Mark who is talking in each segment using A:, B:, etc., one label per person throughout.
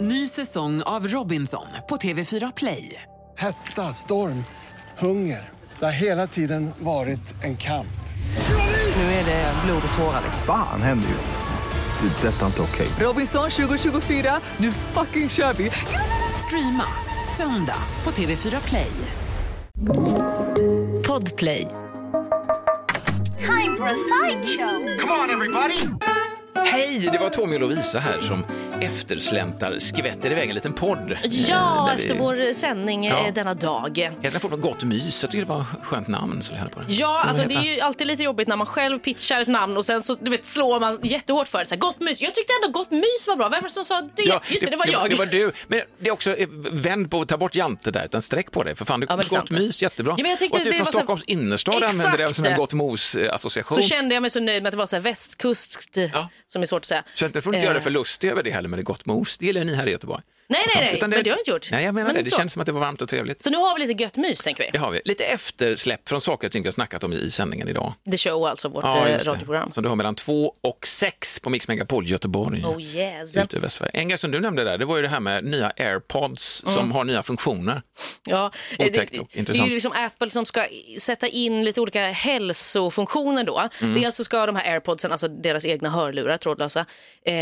A: Ny säsong av Robinson på TV4 Play.
B: Hetta, storm, hunger. Det har hela tiden varit en kamp.
A: Nu är det blod och tårar. liksom.
C: Fan händer just nu. Det. är Detta är inte okej.
A: Robinson 2024, nu fucking kör vi! Streama söndag på TV4 Play.
D: Podplay.
E: time for a sideshow.
F: Hej! Det var Tommy och Lovisa här som eftersläntar skvätter iväg en liten podd.
D: Ja,
F: Där vi-
D: efter vår sändning eh,
F: Ja.
D: denna dag.
F: Hälsarna får något gott mys. Jag tycker det var ett skönt namn. Så vi hade på den.
D: Ja,
F: Så
D: alltså det
F: heter
D: är ju alltid lite jobbigt när man själv pitchar ett namn och sen så du vet, slår man jättehårt för det. Så här, gott mys. Jag tyckte ändå gott mys var bra. Vem var det som sa det?
F: Ja,
D: Just det, det var jag.
F: Det var du. Men det är också eh, vänd på, ta bort jante där, utan sträck på det. För fan, du,
D: Ja, men det är
F: gott
D: sant.
F: mys, jättebra.
D: Ja, men jag tyckte
F: och att du
D: det
F: från
D: var så-
F: Stockholms innerstad använder det
D: Exakt.
F: som en gott mos-association.
D: Så kände jag mig så nöjd med att det var så här västkust, eh,
F: Ja.
D: som är svårt att säga.
F: Så att du får inte göra dig
D: Eh,
F: för lustig över det heller med det gott mos. Det gillar ju ni här i Göteborg.
D: Nej,
F: Och
D: nej,
F: sånt.
D: nej,
F: Utan
D: men det har jag inte gjort.
F: Nej, jag menar
D: Men
F: det.
D: inte
F: Det
D: så.
F: känns som att det var varmt och trevligt.
D: Så nu har vi lite gött mys, tänker vi.
F: Det har vi. Lite eftersläpp från saker och ting vi har snackat om i sändningen idag.
D: The show, alltså vårt eh,
F: just det.
D: radioprogram.
F: Som du har mellan två och sex på Mix Megapol Göteborg.
D: Oh yes.
F: Ute i Västsverige. En grej som du nämnde där, det var ju det här med nya airpods
D: Mm.
F: som har nya funktioner.
D: Ja, eh,
F: Otäckt och
D: det, det är
F: intressant.
D: ju liksom Apple som ska i- sätta in lite olika hälsofunktioner då.
F: Mm.
D: Dels så ska de här airpodsen, alltså deras egna hörlurar, trådlösa, eh,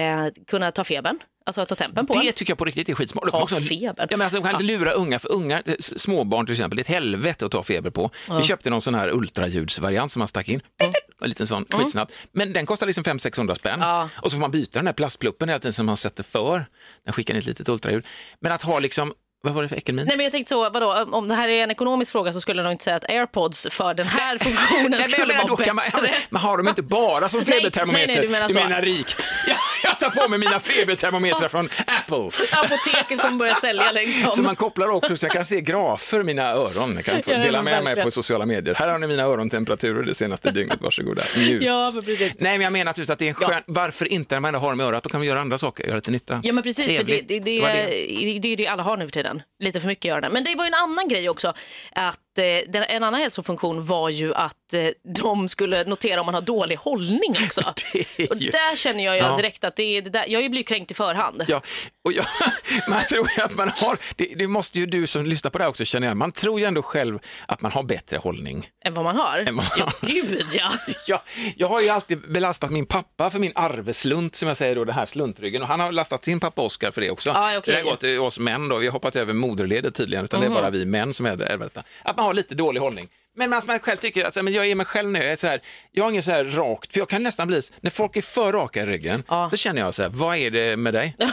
D: kunna ta febern, alltså ta tempen på
F: Det
D: en.
F: tycker jag på riktigt är skitsmart. De
D: Ta
F: kan också-
D: feber.
F: Ja, men alltså, de kan inte lura unga, för unga, eh, s- småbarn till exempel, det är ett helvete att ta feber på. Vi köpte någon sån här ultraljudsvariant som man stack in,
D: Mm.
F: en liten sån, skitsnabb. Men den kostar liksom 500-600 spänn. Och så får man byta den här plastpluppen hela tiden som man sätter för. Den skickar in ett litet ultraljud. Men att ha liksom, vad var det för äckelmin?
D: Nej men jag tänkte så, vadå, om det här är en ekonomisk fråga så skulle jag nog inte säga att airpods för den här funktionen
F: Nej, men jag
D: skulle
F: menar, då
D: vara
F: kan man-
D: bättre.
F: Men har de inte bara som
D: Nej,
F: febertermometer?
D: nej, nej, du menar så.
F: rikt. Jag, jag tar på mig mina febertermometrar från Apple.
D: Apoteket kommer börja sälja liksom.
F: Så man kopplar också så jag kan se grafer i mina öron. Jag kan få
D: Ja, men
F: dela med mig
D: verkligen.
F: på sociala medier. Här har ni mina örontemperaturer det senaste dygnet, varsågoda. Njut.
D: Ja, men precis.
F: Nej, men jag menar naturligtvis att det är en skön... Varför inte när man ändå har dem i örat, då kan man göra andra saker, göra till nytta.
D: Ja men precis, för det,
F: Trevligt.
D: det, det,
F: var
D: det, är ju det alla har nu för tiden. Lite för mycket i öronen. Men det var ju en annan grej också. Att, eh, den, en annan hälsofunktion var ju att eh, de skulle notera om man har dålig hållning också.
F: är ju-
D: Och där känner jag ju
F: Ja.
D: direkt att det är det där. Jag har ju blivit kränkt i förhand.
F: Ja, och jag, man tror ju att man har, det, det måste ju du som lyssnar på det här också känna igen, man tror ju ändå själv att man har bättre hållning
D: Än vad man har.
F: än vad man
D: Ja,
F: har.
D: gud ja.
F: Jag, jag har ju alltid belastat min pappa för min arveslund, som jag säger då, den här sluntryggen. Och han har lastat sin pappa Oscar för det också.
D: Ah, okej. Mhm.
F: Det har gått till oss män då, vi har hoppat över moderledet tydligen, utan det är bara vi män som ärver ärver detta. Att man har lite dålig hållning. Men att man själv tycker att så här, men jag är mig själv nu, jag, är så här, jag har ingen så här rakt, för jag kan nästan bli, när folk är för raka i ryggen,
D: Ah.
F: då känner jag så här, vad är det med dig?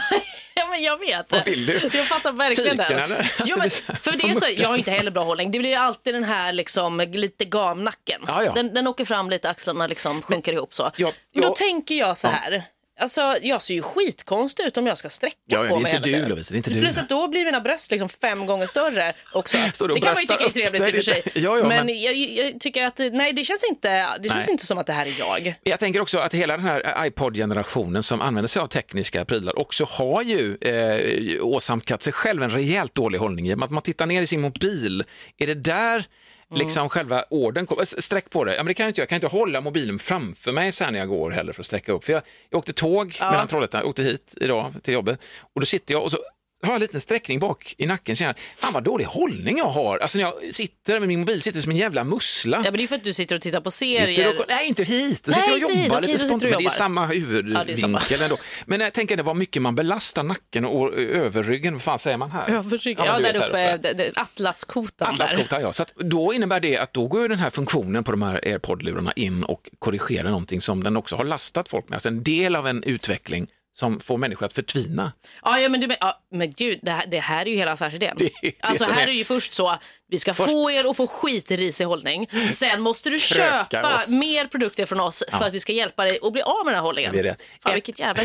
D: Ja, men jag vet.
F: Vad vill du?
D: Jag fattar verkligen
F: Tyken,
D: det.
F: eller? Alltså,
D: Jo, men,
F: det är-
D: för det är så, jag har inte heller bra hållning. Det blir ju alltid den här liksom, lite gamnacken.
F: Ja, ja.
D: Den, den åker fram lite, axlarna liksom sjunker ihop så.
F: Ja,
D: men då
F: ja.
D: tänker jag så här. Alltså, jag ser ju skitkonstig ut om jag ska sträcka
F: Ja, ja, det är
D: på mig
F: inte
D: hela
F: du,
D: tiden.
F: Lovisa, det är inte du.
D: Plus att då blir mina bröst liksom fem gånger större också.
F: Så då
D: det kan man ju tycka
F: bröstar
D: är
F: upp
D: trevligt
F: dig
D: i och för sig.
F: lite. Ja, ja,
D: men
F: men-
D: jag, jag tycker att, nej det känns inte, det känns
F: Nej.
D: inte som att det här är jag.
F: Jag tänker också att hela den här iPod-generationen som använder sig av tekniska prylar också har ju eh, åsamkat sig själv en rejält dålig hållning genom att man tittar ner i sin mobil. Är det där liksom själva orden kommer? S- Sträck på det. Ja, men det kan jag, inte, göra. jag kan inte hålla mobilen framför mig så här när jag går heller för att sträcka upp. För jag, jag åkte tåg mellan Trollhättan, jag åkte hit idag till jobbet och då sitter jag och så har jag en liten sträckning bak i nacken. Känner, jag, fan vad dålig hållning jag har. Alltså när jag sitter med min mobil, sitter som en jävla mussla.
D: Ja, men det är ju för att du sitter och tittar på
F: Sitter
D: serier.
F: och, nej, inte hit. Då
D: Nej,
F: sitter jag
D: inte
F: och
D: hit.
F: jobbar
D: Okej,
F: lite
D: då
F: spontant.
D: sitter du och
F: Men det är
D: jobbar.
F: samma
D: Ja, det är samma.
F: huvudvinkel ändå. Men jag tänker ändå vad mycket man belastar nacken och ö, överryggen. Vad fan säger man här?
D: Överrygg-
F: men
D: Ja,
F: du
D: där
F: vet,
D: uppe, d- d- Atlaskotan. där.
F: Atlaskotan, ja. Så att då innebär det att då går ju den här funktionen på de här AirPod-lurarna in och korrigerar någonting som den också har lastat folk med. Alltså en del av en utveckling som får människor att förtvina.
D: Ja, ja, men, du, men, ja, men gud, det här, det här är ju hela affärsidén.
F: det
D: alltså
F: som
D: här
F: är-
D: är ju först så, vi ska få er att få skitrisig hållning. Sen måste du
F: Kröka
D: köpa
F: oss.
D: mer produkter från oss för att vi ska hjälpa dig att bli av med den här hållningen.
F: Ska vi det?
D: Fan,
F: Ett-
D: vilket jävla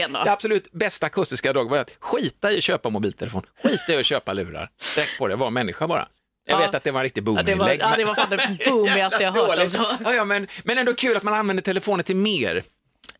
D: ändå.
F: Det absolut bästa akustiska draget var att skita i att köpa mobiltelefon, skita i att köpa lurar. Sträck på det, var människa bara. Jag
D: Ja.
F: vet att det var en riktig
D: Ja, det, var,
F: boominlägg.
D: ja,
F: men-
D: det var fan det boomigaste jag hört.
F: Dåligt.
D: Alltså.
F: Ja, ja, men, men ändå kul att man använder telefonen till mer.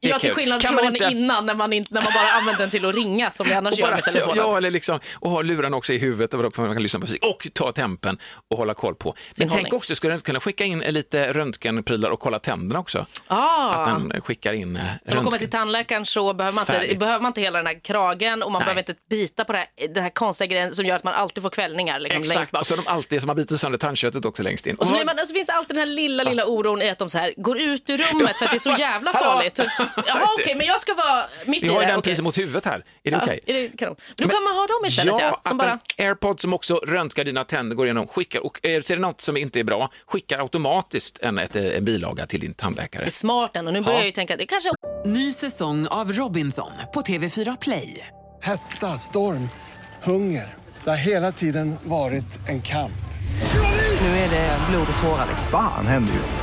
F: Det är
D: Ja, till
F: kul.
D: skillnad
F: Kan man
D: från
F: inte-
D: innan när man, inte, när man bara använder den till att ringa som vi annars
F: Och,
D: gör
F: bara,
D: med telefonen.
F: ja, eller liksom, och ha luran också i huvudet och man kan lyssna på musik och ta tempen och hålla koll på. Men tänk
D: hållning.
F: också, skulle du inte kunna skicka in lite röntgenprylar och kolla tänderna också? Att
D: Ah.
F: den skickar in eh,
D: När man kommer till
F: röntgen.
D: tandläkaren så behöver man, inte,
F: Färdigt.
D: behöver man inte hela den här kragen och man
F: Nej.
D: behöver inte bita på det här, den här konstiga grejen som gör att man alltid får kvällningar liksom, längst
F: Exakt,
D: bak.
F: och så de alltid som har bitit sönder tandköttet också längst in.
D: Och så, blir man, och så finns det alltid den här lilla, lilla oron i att de så här, går ut ur rummet för att det är så jävla
F: Hallå!
D: farligt. Jaha, okej, men jag ska vara mitt
F: vi
D: i
F: har ju
D: det.
F: den
D: okej.
F: precis mot huvudet här, är det
D: Ja,
F: okej?
D: är det kanon? Då kan man ha dem istället, ja.
F: att
D: Som bara,
F: en airpod som också röntgar dina tänder, går igenom, skickar och eh, ser det något som inte är bra, skickar automatiskt en, ett, eh, en bilaga till din tandläkare.
D: det är smart ändå. Nu börjar jag ju tänka att det kanske
A: Ny säsong av Robinson på TV4 Play.
B: Hetta, storm, hunger. Det har hela tiden varit en kamp.
E: Nu är det blod och tårar. Liksom.
C: Fan händer just det.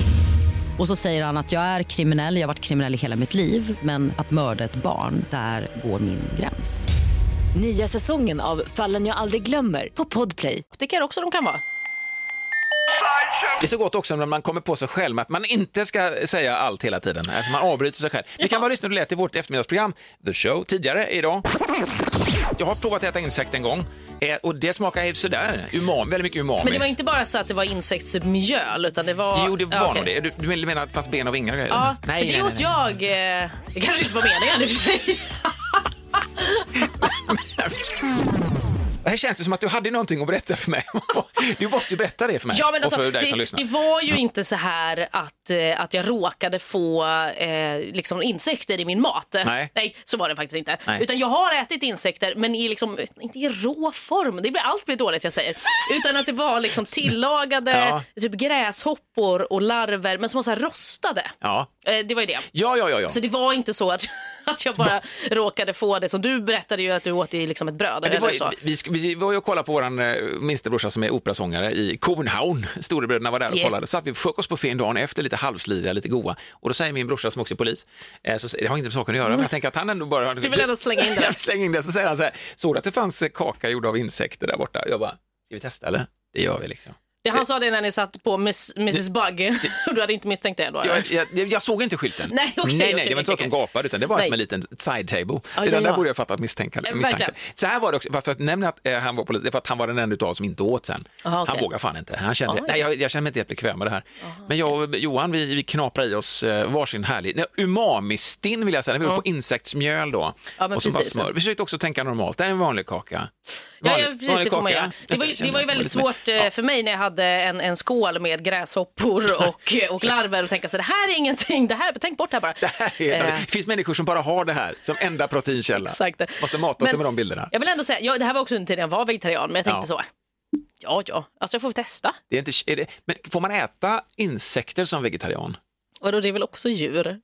G: Och så säger han att jag är kriminell, jag har varit kriminell i hela mitt liv men att mörda ett barn, där går min gräns.
H: Nya säsongen av Fallen jag aldrig glömmer på Podplay.
D: optiker också de kan vara.
F: Det är så gott också när man kommer på sig själv att man inte ska säga allt hela tiden, alltså man avbryter sig själv. Vi kan bara lyssna hur det lät i vårt eftermiddagsprogram The Show tidigare idag. Jag har provat att äta insekt en gång eh, och det smakar ju sådär, umami, väldigt mycket umami.
D: Men det var inte bara så att det var insektsmjöl utan det var...
F: Jo, det var
D: Ja,
F: nog
D: okej.
F: det. Du, du menar att det fanns ben och vingar?
D: Ja, för det åt jag... eh, Det kanske inte var meningen i och för sig.
F: Här känns det som att du hade någonting att berätta för mig. Du måste ju berätta det för mig
D: Ja, men alltså,
F: och för dig som
D: det,
F: lyssnar. Mm.
D: det var ju inte så här att, eh, att jag råkade få eh, liksom insekter i min mat.
F: Nej.
D: så var det faktiskt inte.
F: Nej.
D: Utan jag har ätit insekter, men i liksom, inte i rå form. Det blir, allt blir dåligt jag säger. Utan att det var liksom tillagade
F: Ja.
D: typ gräshoppor och larver, men som var så här rostade.
F: Ja.
D: Eh, det var ju det.
F: Ja, ja, ja. ja.
D: Så det var inte så att, att jag bara råkade få det. Som du berättade ju att du åt i liksom ett bröd.
F: Men det
D: eller
F: var,
D: så.
F: ju- vi, sk- vi var ju och kollade på vår eh, minsta brorsa som är operasångare i Kornhavn. Storebröderna var där och
D: Yeah.
F: kollade. Så att vi frukost på fin dagen efter, lite halvsliriga, lite goa. Och då säger min brorsa som också är polis, eh, så, det har inte med saken att göra, men jag tänker att han ändå bara...
D: Du vill ändå slänga in det.
F: Jag slänger in det. Så säger han så här, såg du att det fanns eh, kaka gjord av insekter där borta? Jag bara, ska vi testa eller? Det gör vi liksom.
D: Det, han sa det när ni satt på miss, Mrs Bug. Och du hade inte misstänkt det då? eller?
F: Jag, jag, jag- jag såg inte skylten.
D: Nej, okej,
F: nej, nej,
D: okej,
F: det var inte så att de
D: okej.
F: gapade, utan det var
D: Nej.
F: som en liten side table.
D: ja,
F: det där,
D: ja.
F: där borde jag fattat misstänka,
D: Eh,
F: misstanke.
D: verkligen.
F: Så här var det också, varför jag nämner att eh, han var polis, det är för att han var den enda utav oss som inte åt sen.
D: Aha, okej.
F: Han vågar fan inte. Han kände,
D: Oj.
F: nej, jag, jag känner mig inte jättebekväm med det här. Men jag och Johan, vi, vi knaprar i oss eh, varsin härlig nej, umamistinn vill jag säga, när vi var på insektsmjöl då.
D: Mm. Ja, men
F: och så bara
D: precis.
F: smör. Vi försökte också tänka normalt, det här är en vanlig kaka.
D: Ja,
F: Vanlig-
D: ja, precis,
F: vanlig
D: det får man
F: kaka.
D: göra. Det
F: Jag
D: var, ju-
F: kände
D: det var ju
F: att
D: väldigt
F: lite-
D: svårt eh, för mig när jag hade en, en skål med gräshoppor och, och larver och tänka så det här är ingenting, det här, tänk bort det här bara.
F: Det här är,
D: Eh,
F: det finns människor som bara har det här som enda proteinkälla.
D: exakt.
F: Måste mata sig
D: Men
F: med de bilderna.
D: Jag vill ändå säga, ja, det här var också under tiden jag var vegetarian, men jag tänkte
F: Ja.
D: så, ja ja, alltså jag får väl testa.
F: Det är inte, är det, men får man äta insekter som vegetarian?
D: Vadå, det är väl också djur?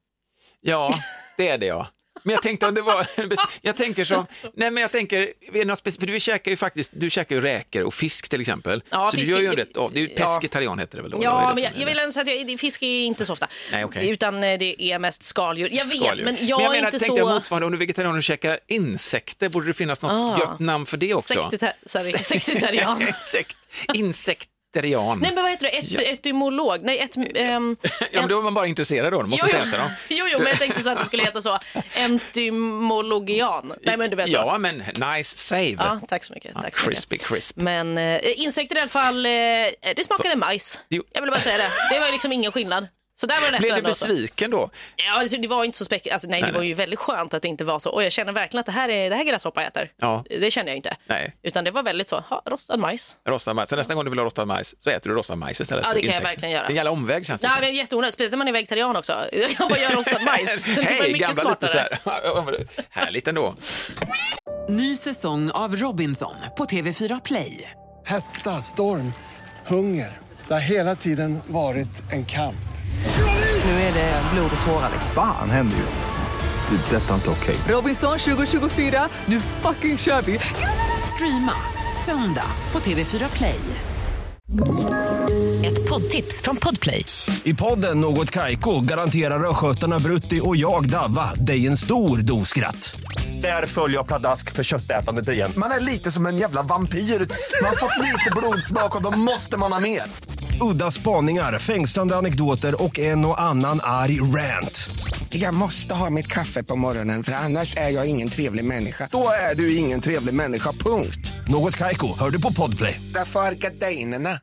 F: Ja, det är det ja. Men jag tänkte om det var, jag tänker som, nej men jag tänker, är det något speci- för du käkar ju faktiskt, du käkar ju räkor och fisk till exempel.
D: Ja,
F: så
D: fisk
F: du gör ju
D: är-
F: en rätt, ja, det är ju
D: ja.
F: pescetarian heter det väl då? eller vad är
D: Ja,
F: det
D: men
F: för-
D: jag, jag vill ändå säga att jag, fisk är inte så ofta,
F: Nej, okej.
D: utan eh, det är mest skaldjur. Jag vet,
F: Skaldjur.
D: men jag, är
F: menar,
D: inte
F: tänkte jag
D: så...
F: motsvarande, om du är vegetarian och käkar insekter, borde det finnas något
D: Ah.
F: gött namn för det också?
D: Sektita- sorry, sektitarian.
F: Insekt, insekterian.
D: Nej, men vad heter det? Et,
F: Ja.
D: Etymolog? Nej, et, ehm,
F: ja, men då är man bara intresserad av dem, måste inte
D: jo.
F: äta dem.
D: jo, jo, men jag tänkte så att det skulle heta så. Entymologian. Nej, men du vet så.
F: Ja, men nice save.
D: Ja, tack så mycket.
F: Ja,
D: Tack så mycket.
F: crispy crisp.
D: Men eh, insekter i alla fall, eh, det smakade majs.
F: Jo.
D: Jag ville bara säga det. Det var ju liksom ingen skillnad. Så där var det lätt
F: Blev du
D: ändå, alltså.
F: besviken då?
D: Ja, det- det var inte så spek... Alltså, nej, det var ju väldigt skönt att det inte var så. Och jag känner verkligen att det här är det här gräshoppa jag äter.
F: Ja.
D: Det känner jag inte.
F: Nej.
D: Utan det var väldigt så, ha, rostad majs.
F: Rostad majs. Så nästa gång du vill ha rostad majs så äter du rostad majs istället
D: Ja,
F: för
D: det kan jag
F: insekter.
D: verkligen göra.
F: Det är en jävla omväg känns det
D: Nej,
F: som.
D: men jätteonödigt. Speciellt när man är vegetarian också. Jag kan bara göra rostad majs. Det var
F: Hej,
D: mycket
F: gamla lite
D: smartare.
F: så här. Ja, men Härligt ändå.
A: Ny säsong av Robinson på TV4 Play.
B: Hetta, storm, hunger. Det har hela tiden varit en kamp.
E: Nu är det blod och tårar. Liksom.
C: Fan händer just det. Det är detta inte okej.
A: Robinson 2024, nu fucking kör vi! Streama söndag på TV4 Play.
H: Ett poddtips från Podplay.
I: I podden Något Kaiko garanterar östgötarna Brutti och jag, Davva, dig en stor dos skratt. Där följer jag pladask för köttätandet igen.
J: Man är lite som en jävla vampyr. Man har fått lite blodsmak och då måste man ha mer.
I: Udda spaningar, fängslande anekdoter och en och annan arg rant.
J: Jag måste ha mitt kaffe på morgonen för annars är jag ingen trevlig människa. Då är du ingen trevlig människa, punkt.
I: Något Kaiko, hör du på Podplay.
J: Därför är gardinerna.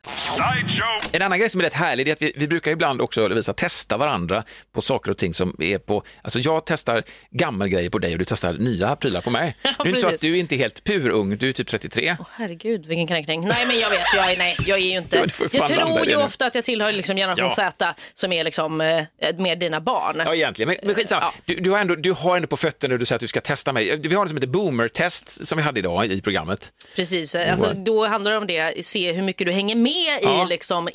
F: En annan grej som är rätt härlig är att vi, vi brukar ibland också visa testa varandra på saker och ting som är på, alltså jag testar gammelgrejer på dig och du testar nya prylar på mig.
D: Ja,
F: det är inte så
D: precis.
F: att du är inte helt purung, du är typ 33.
D: Herregud, vilken kränkning. Nej, men jag vet, jag är, nej, jag är ju
F: Ja,
D: inte...
F: du får fan
D: Jag
F: landa i
D: tror
F: det
D: ju
F: nu.
D: ofta att jag tillhör liksom generation
F: Ja.
D: Z som är liksom, eh, mer dina barn.
F: Ja, egentligen, men, men skitsamma.
D: Ja.
F: Du, du, har ändå, du har ändå på fötterna och du säger att du ska testa mig. Vi har något som heter boomer-test som vi hade idag i programmet.
D: Precis, alltså, då handlar det om det, se hur mycket du hänger med
F: Ja.
D: i liksom,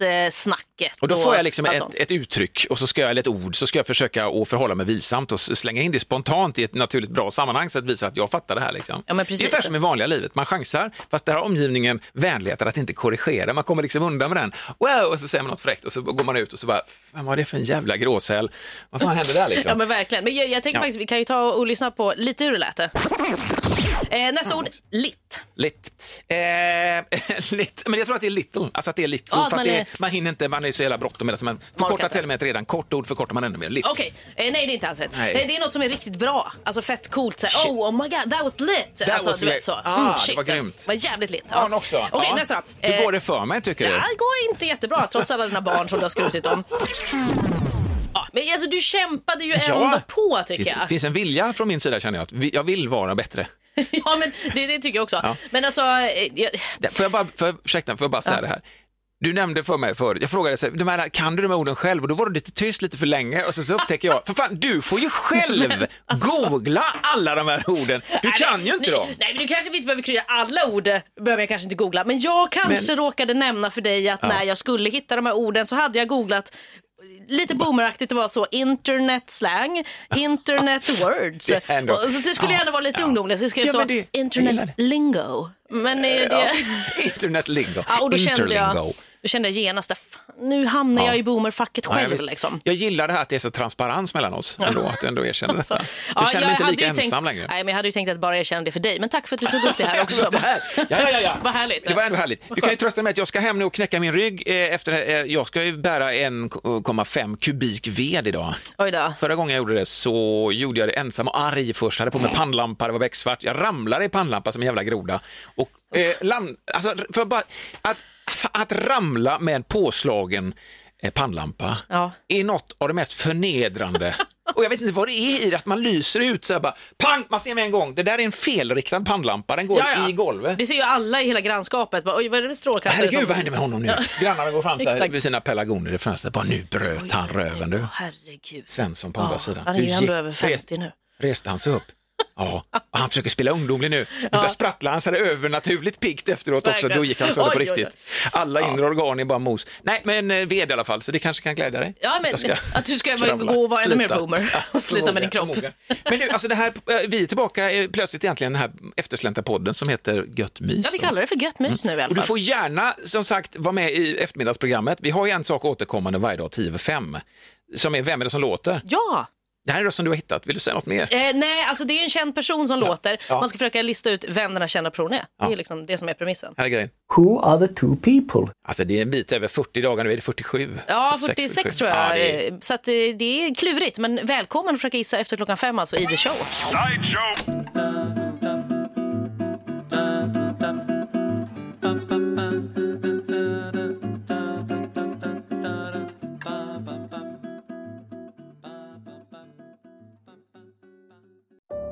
D: internetsnacket.
F: Och då får jag liksom
D: allt
F: ett,
D: sånt.
F: ett uttryck och så ska jag, eller ett ord, så ska jag försöka att förhålla mig visamt och s- slänga in det spontant i ett naturligt bra sammanhang så att visa att jag fattar det här. Liksom.
D: Ja, men precis.
F: det är ungefär som i vanliga livet, man chansar, fast där har omgivningen vänligheten att inte korrigera, man kommer liksom undan med den. Wow! Och så säger man något fräckt och så går man ut och så bara, "Fan, vad är det för en jävla gråsäl? Vad fan hände där liksom?
D: Ja men verkligen. Men jag, jag tänker
F: Ja.
D: faktiskt, vi kan ju ta och lyssna på lite hur det lät. det. Eh, nästa ord, litt.
F: Litt. Eh, litt. Men jag tror att det är little. Alltså att det är little.
D: Ja, att
F: för
D: man
F: att det
D: är-
F: är, man hinner inte, man är så jävla bråttom. hela tiden. Man förkortar
D: Orkar
F: till och med ett redan kort ord, förkortar man ännu mer. Litt.
D: Okej, eh, nej det är inte alls rätt.
F: Nej.
D: Eh, det är något som är riktigt bra, alltså fett coolt. Så här,
F: Shit.
D: oh, oh my god, that was lit.
F: That
D: alltså,
F: was
D: du vet
F: lit.
D: så.
F: Ah, det var grymt.
D: Det var jävligt lit.
F: Ja, men också.
D: Okej,
F: Ja.
D: nästa. Eh,
F: Hur går det för mig tycker
D: Ja,
F: du?
D: det går inte jättebra trots alla dina barn som du har skrutit om. Ja, men alltså, du kämpade ju ändå på tycker
F: finns,
D: jag.
F: finns en vilja från min sida känner jag. Att vi- jag vill vara bättre.
D: Ja, men det, det tycker jag också.
F: Ja.
D: Men alltså, eh, jag,
F: Det- Får jag bara, för, ursäkta, får jag bara säga det här? Du nämnde för mig förut, jag frågade så här, de här, kan du de här orden själv? Och då var du lite tyst lite för länge och sen så upptäcker jag, för fan du får ju själv googla alla de här orden. Du
D: Alltså. Nej,
F: kan
D: men-
F: ju inte
D: nej,
F: dem.
D: Nej, men du kanske inte behöver krydda alla ord. behöver jag kanske inte googla. Men jag kanske råkade nämna för dig att när jag skulle hitta de här orden så hade jag googlat Lite boomeraktigt det var så, internet slang, internet words.
F: Det är ändå-
D: Och så det skulle
F: Ja,
D: gärna vara lite
F: ja.
D: ungdomligt, så jag skrev
F: Ja,
D: så,
F: men det- jag gillar
D: internet
F: det.
D: lingo. Men är
F: Ja.
D: det...
F: Internetlingo.
D: Ja, och då kände jag,
F: Interlingo.
D: då kände jag genast, att, fan, nu hamnar
F: Ja.
D: jag i boomerfacket
F: Ja, jag
D: själv
F: visst.
D: liksom.
F: Jag gillar det här att det är så transparens mellan oss ändå, att du ändå erkänner
D: Så-
F: detta. Du
D: Ja,
F: känner mig inte
D: hade
F: lika
D: ju
F: ensam
D: tänkt,
F: längre.
D: Nej, men jag hade ju tänkt att bara erkänna det för dig. Men tack för att du tog upp det här också.
F: Det här. Ja, ja, ja, ja.
D: Vad härligt.
F: Det var ändå härligt. Du kan ju trösta dig med att jag ska hem nu och knäcka min rygg. eh, Efter, eh, jag ska ju bära 1,5 kubik ved idag.
D: Oj då.
F: Förra gången jag gjorde det så gjorde jag det ensam och arg först. Jag hade på mig pannlampa, det var becksvart. Jag ramlade i pannlampa som en jävla groda. Och, eh, land, alltså, för bara, att, att ramla med påslagen eh, pannlampa
D: Ja.
F: är något av det mest förnedrande. Och jag vet inte vad det är i det, att man lyser ut så här bara, pang, man ser med en gång, det där är en felriktad pannlampa, den går
D: Ja, ja.
F: i golvet.
D: Det ser ju alla i hela grannskapet. Bara, Oj, vad är det för strålkastare
F: Herregud,
D: som...
F: vad hände med honom nu? Grannarna går fram så här
D: Exakt.
F: med sina pelargoner i fönstret, bara nu bröt han röven du.
D: Åh, herregud.
F: Svensson på andra
D: Ja,
F: sidan.
D: Han är ju
F: Hur
D: ändå
F: gick-
D: över
F: rest-
D: 50 nu.
F: Reste han sig upp? Ja, och han försöker spela ungdomlig nu. Ja. Där sprattlar han så där övernaturligt piggt efteråt också.
D: Verkligen.
F: Då gick han sönder på
D: Oj, oj, oj.
F: riktigt. Alla inre organ är bara mos. Nej, men eh, ved i alla fall, så det kanske kan glädja dig.
D: Ja, men
F: Jag ska
D: att du ska
F: kravla.
D: gå och vara ännu mer
F: Slita.
D: boomer och slita med din kropp.
F: Förmåga, förmåga. Men du, alltså det här, eh, vi är tillbaka eh, plötsligt egentligen den här efterslänta podden som heter Gött mys.
D: Ja, vi
F: då.
D: kallar det för gött mys nu i alla
F: Mm. Och du
D: fall.
F: får gärna som sagt vara med i eftermiddagsprogrammet. Vi har ju en sak återkommande varje dag 10 över 5 som är Vem är det som låter?
D: Ja,
F: Det här är det som du har hittat. Vill du säga något mer?
D: eh, nej, alltså det är ju en känd person som låter.
F: Ja.
D: Man ska försöka lista ut vem den här kända personen är. Det är ju liksom det som är premissen.
F: Här är grejen.
A: Who are the two people?
F: Alltså det är en bit över 40 dagar, nu är det 47.
D: Ja,
F: 47.
D: 46 tror
F: Ja,
D: jag.
F: det är-
D: eh, Så att eh, det är klurigt, men välkommen att försöka gissa efter klockan fem alltså i The Show.